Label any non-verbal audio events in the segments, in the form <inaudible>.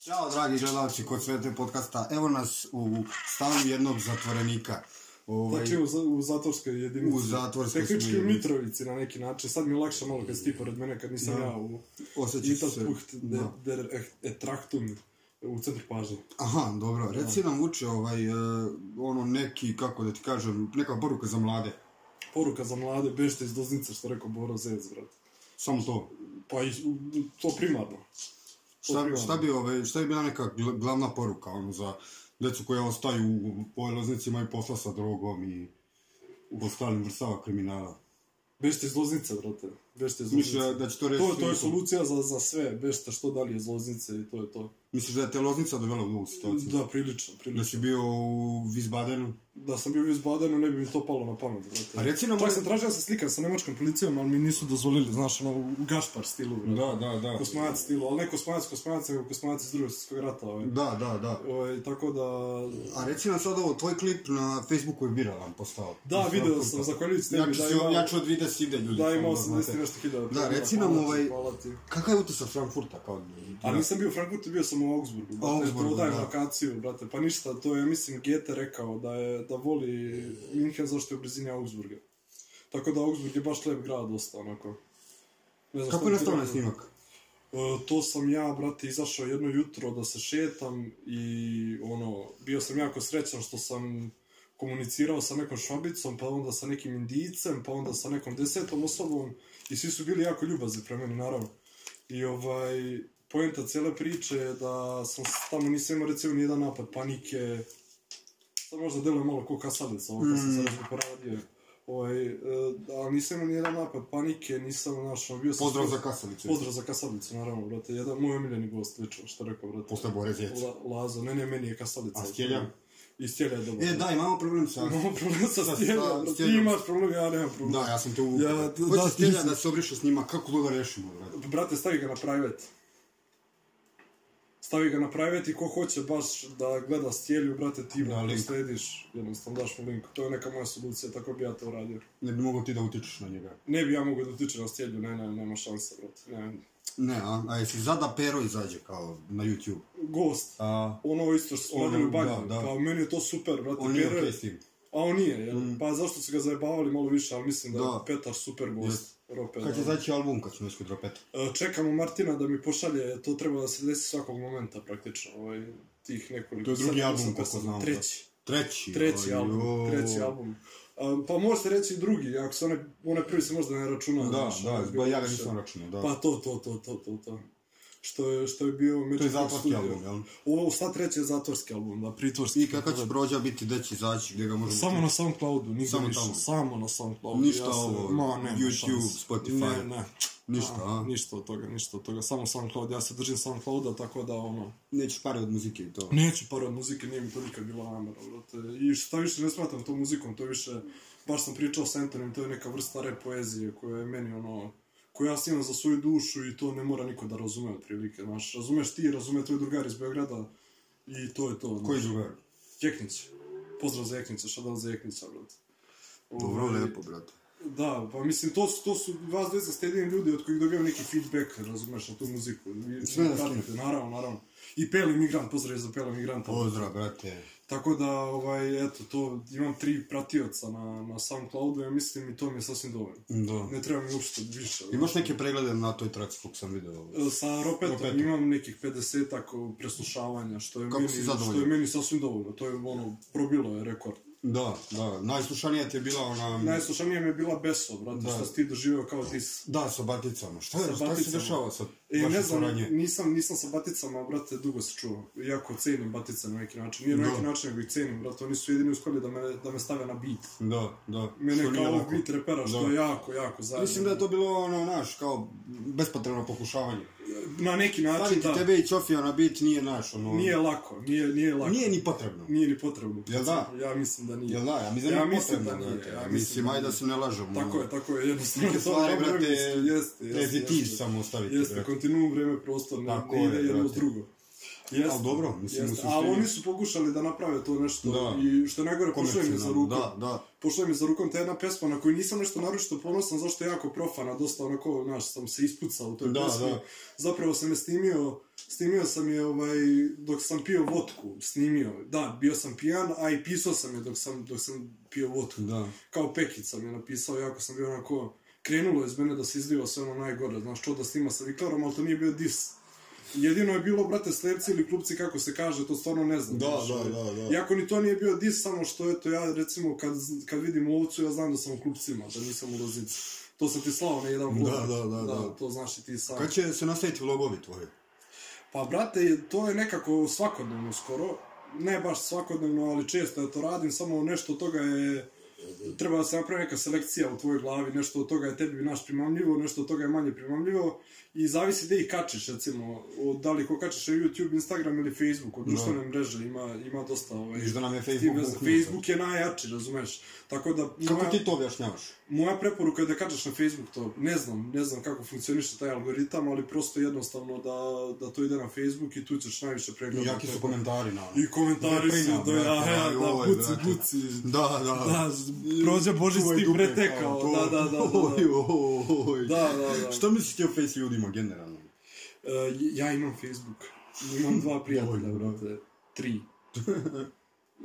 Ćao dragi gledalci kod Svete podcasta. Evo nas u stanu jednog zatvorenika. Ovaj, Znači u, za- u zatvorskoj jedinici. U zatvorskoj Tehnički u smjeni. Mitrovici na neki način. Sad mi je lakše malo kad si ti pored mene, kad nisam Da. ja u osjećaš se... Mitarpuht der, Da. der Echt- Etraktum u centru pažnje. Aha, dobro. Reci nam uče ovaj, e, ono neki, kako da ti kažem, neka poruka za mlade. Poruka za mlade, bežte iz doznice, što rekao Boro Zec, brat. Samo to. Pa i, to primarno. Šta, šta, bi, ovaj, šta bi bila neka gl- glavna poruka ono, za decu koja ostaju u pojeloznicima i posla sa drogom i u ostalim vrstava kriminala? Bežte iz Loznice, brate. Bežte iz Loznice. Misliš da će to reći? To, to je solucija za, za sve. Bežte što dalje iz Loznice i to je to. Misliš da je te loznica dovela u ovu situaciju? Da, prilično, Da prilično. si bio u Vizbadenu? Da sam bio iz Badena, ne bi mi to palo na pamet, brate. A Pa reci nam... Čak sam tražio da se slikam sa nemačkom policijom, ali mi nisu dozvolili, znaš, ono, u gašpar stilu, bro. Da, da, da. Kosmajac stilu, ali ne kosmajac, kosmajac, nego kosmajac iz drugog svjetskog rata, ovaj. Da, da, da. Ovaj, tako da... A reci nam sad ovo, tvoj klip na Facebooku je viralan postao. Da, video sam, zahvaljujući tebi, Znači, da si, imao- ja ću od videa ide ljudi. Da, imao samo sam znate. 10 i nešto hiljada. Da, reci Hvala nam, ti, ovaj- Hvala ti. Kakav je utisak Frankfurta kao... A nisam bio u Frankfurtu, bio sam u Augsburgu. Brate, Augsburgu, Augsburgu, da. da. lokaciju, brate. Pa ništa, to je, mislim, Goethe rekao da, je, da voli Minhen zašto je u blizini Augsburga. Tako da Augsburg je baš lep grad, dosta, onako. Ne znam šta Kako bi je ti nastao na rekao. snimak? E, to sam ja, brate, izašao jedno jutro da se šetam i ono, bio sam jako srećan što sam komunicirao sa nekom švabicom, pa onda sa nekim indijcem, pa onda sa nekom desetom osobom i svi su bili jako ljubazni prema meni, naravno. I ovaj, poenta cele priče je da sam s- tamo nisam imao recimo nijedan napad panike, sad možda deluje malo ko kasalica, ovo kad Mm. sam sad nešto poradio. Ovaj, e, ali nisam imao nijedan napad panike, nisam, znaš, ono, bio sam... Pozdrav skroz- za Kasalicu. Pozdrav za Kasavnicu, naravno, brate. Jedan moj omiljeni gost, lično, što rekao, brate. Posle Bore Zec. La, Lazo, ne, ne, meni je Kasavnica. A Stjelja? I Stjelja je dobro. E, da, imamo problem sa... Imamo <laughs> problem sa Sa- Stjelja, sa brate. Ti Stjeljom. imaš problem, ja nemam problem. Da, ja sam te uvukao. Ja, Ja, da, da, da, stjelja nisam. da se obriše snima, kako da ga rešimo, brate? Brate, stavi ga na private. Stavi ga na private i ko hoće baš da gleda Stjelju, brate, ti Da, da, link. slediš. Jednostavno daš mu link. To je neka moja solucija, tako bi ja to uradio. Ne bi mogao ti da utičeš na njega. Ne bi ja mogao da utiče na Stjelju, ne, ne, nema šanse, brate. Ne. Ne, a, a jesi zada pero izađe kao na YouTube? Gost. A, Ono isto što smo Ono, radili u banju, da, da. kao meni je to super, brate, on je Pero je- okej s tim. A on nije, jel? Mm. Pa zašto su ga zajebavali malo više, ali mislim da, je Da. Petar super Jest. gost. Rope, Kad će da. izaći album kad ćemo iskod dropeta? E, Čekamo Martina da mi pošalje, to treba da se desi svakog momenta praktično, ovaj, tih nekoliko... To je drugi sedam, album, osam koliko pesama. znam, da. Treći, Treći. treći oj, album, joj. treći album. Um, pa može se reći i drugi, ako se one, one prvi se možda ne računa. Da, znaš, ono da, je bilo ba, ja ga više. nisam računao, da. Pa to, to, to, to, to, to. Što je, što je bio... to je Međutim zatvorski studio. album, jel? Ovo, sad treći je zatvorski album, da, pritvorski. I kakav će prođa biti, gde će izaći, gdje ga možemo... Samo na Soundcloudu, nigdje Samo samo više. tamo. Samo na Soundcloudu. Ništa se- ovo, ma, nema YouTube, šanse. Spotify. Ne, ne. Ništa, a? Ništa od toga, ništa od toga. Samo Soundcloud, ja se držim Soundclouda, tako da, ono... Nećeš pare od muzike i to. Neću par od muzike, nije mi to nikad bila namera, brate. I šta više ne smatram to muzikom, to više... Baš sam pričao s Antonim, to je neka vrsta rap poezije koja je meni, ono... Koju ja snimam za svoju dušu i to ne mora niko da razume, otprilike, znaš. Razumeš ti, razume tvoj drugar iz Beograda i to je to. znaš. Koji drugar? Jeknić. Pozdrav za Jeknića, šta dan za Jeknića, brate. Dobro, Ovaj, lepo, brate. Da, pa mislim, to su, to su vas dvojica ste jedini ljudi od kojih dobijam neki feedback, razumeš, na tu muziku. Vi- Sve da pratite, Naravno, naravno. I Pele Migrant, pozdrav za Pele Migranta. Pozdrav, brate. Tako da, ovaj, eto, to, imam tri pratioca na, na Soundcloudu, ja mislim i to mi je sasvim dovoljno. Da. Ne treba mi uopšte više. Imaš neke preglede na toj traci koliko sam video? E, Sa Ropetom Ropetom. imam nekih 50-ak preslušavanja, što je, Kako meni, si zadovoljan? što je meni sasvim dovoljno. To je, ono, probilo je rekord. Da, da. Najslušanija ti je bila ona... Najslušanija mi je bila Beso, brate, Da. šta si ti doživio kao ti... s- Da, sa baticama. Šta, je, Sa šta se Baticama. dešava sa E, ne znam, suradnje? nisam, nisam sa baticama, brate, dugo se čuo. Jako cenim batice na neki način. Nije na Da. neki način, nego ih cenim, brate. Oni su jedini uspjeli da me, da me stave na beat. Da, da. Što Mene nije kao ovog lako. beat repera, što Da. je jako, jako zajedno. Mislim da je to bilo ono, naš, kao bespotrebno pokušavanje. Na neki način, Staviti Znači, da. Znači, tebe i Ćofija na bit nije naš, ono... Nije lako, nije, nije lako. Nije ni potrebno. Nije ni potrebno. Jel da? Ja mislim da nije. Jel da, ja mislim, Ja da je mislim potrebno, da nije, brate. ja Ja mislim mislim, da ajde da nije. se ne lažemo. Tako je, tako je, jednostavno. Neke to stvari, dobro, brate, jeste, jeste, jeste, Ne ti jeste. samo ostaviti, Jeste, brate. kontinuum, vreme, prostor, ne, Tako ne je, ide jedno uz brate. drugo. Jest, Ali dobro, mislim, jest. u suštini- Ali oni su pokušali da naprave to nešto Da. i što je najgore, pošlo im je za Komercijalno, rukom. Da, da. Pošla mi za rukom ta jedna pesma na koju nisam nešto naročito ponosan, zašto je jako profana, dosta onako, znaš, sam se ispucao u toj Da, pesmi. da. Zapravo sam je snimio, snimio sam je ovaj, dok sam pio vodku, snimio. Da, bio sam pijan, a i pisao sam je dok sam, dok sam pio vodku. Da. Kao pekic sam je napisao, jako sam bio onako, krenulo je iz mene da se izliva sve ono najgore, znaš, čo da snima sa Viklarom, ali to nije bio dis. Jedino je bilo, brate, slepci ili klupci, kako se kaže, to stvarno ne znam. Da, znaš, da, ovaj. da, da. Iako ni to nije bio dis, samo što eto ja recimo kad, kad vidim ovcu ja znam da sam u klupcima, da nisam u lozici. To sam ti slao na jedan vlog. Da, da, da, da. to znaš i ti sam. Kad će se nastaviti vlogovi tvoji? Pa brate, to je nekako svakodnevno skoro. Ne baš svakodnevno, ali često ja to radim, samo nešto od toga je treba da se napravi neka selekcija u tvojoj glavi, nešto od toga je tebi naš primamljivo, nešto od toga je manje primamljivo i zavisi gdje ih kačiš, recimo, od, da li ko kačiš na YouTube, Instagram ili Facebook, od društvene mreže ima, ima dosta ovaj, Viš da nam je Ti Facebook bez, uključen. Facebook je najjači, razumeš? Tako da, Kako moja, ti to objašnjavaš? moja preporuka je da kačeš na да Facebook to. Ne znam, ne znam kako funkcioniše taj algoritam, ali prosto jednostavno da, da to ide na Facebook i tu ćeš najviše I pregleda. jaki su komentari na I komentari su, Prljavo, da, ja, brate, ja, aj, da, ovaj, buci, brate. buci. Da, da. Da, z- prođe Božić Čuvaj ti dupe, pretekao, kao to. da, da, da, da, da. Oj, oj, oj. Da, da, da. Šta misliš ti o face ljudima generalno? E, ja imam Facebook. Imam dva prijatelja, Dovoljno, brate. Tri. E,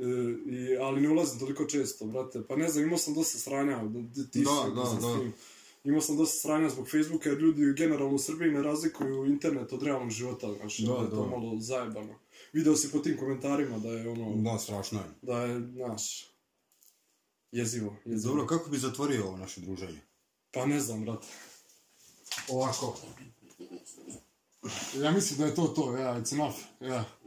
i, ali ne ulazim toliko često, brate. Pa ne znam, imao sam dosta sranja. Da, da, ti Da, si, da, sam s da. tim. Imao sam dosta sranja zbog Facebooka, jer ljudi generalno u Srbiji ne razlikuju internet od realnog života, znaš, Da, da, je to da. malo zajebano. Video si po tim komentarima da je ono, da, Da, strašno je. da je, znaš, jezivo, jezivo. Dobro, kako bi zatvorio ovo naše druženje? Pa ne znam, brate. Ovako. Ja mislim da je to to, ja, yeah, it's enough, ja. Yeah.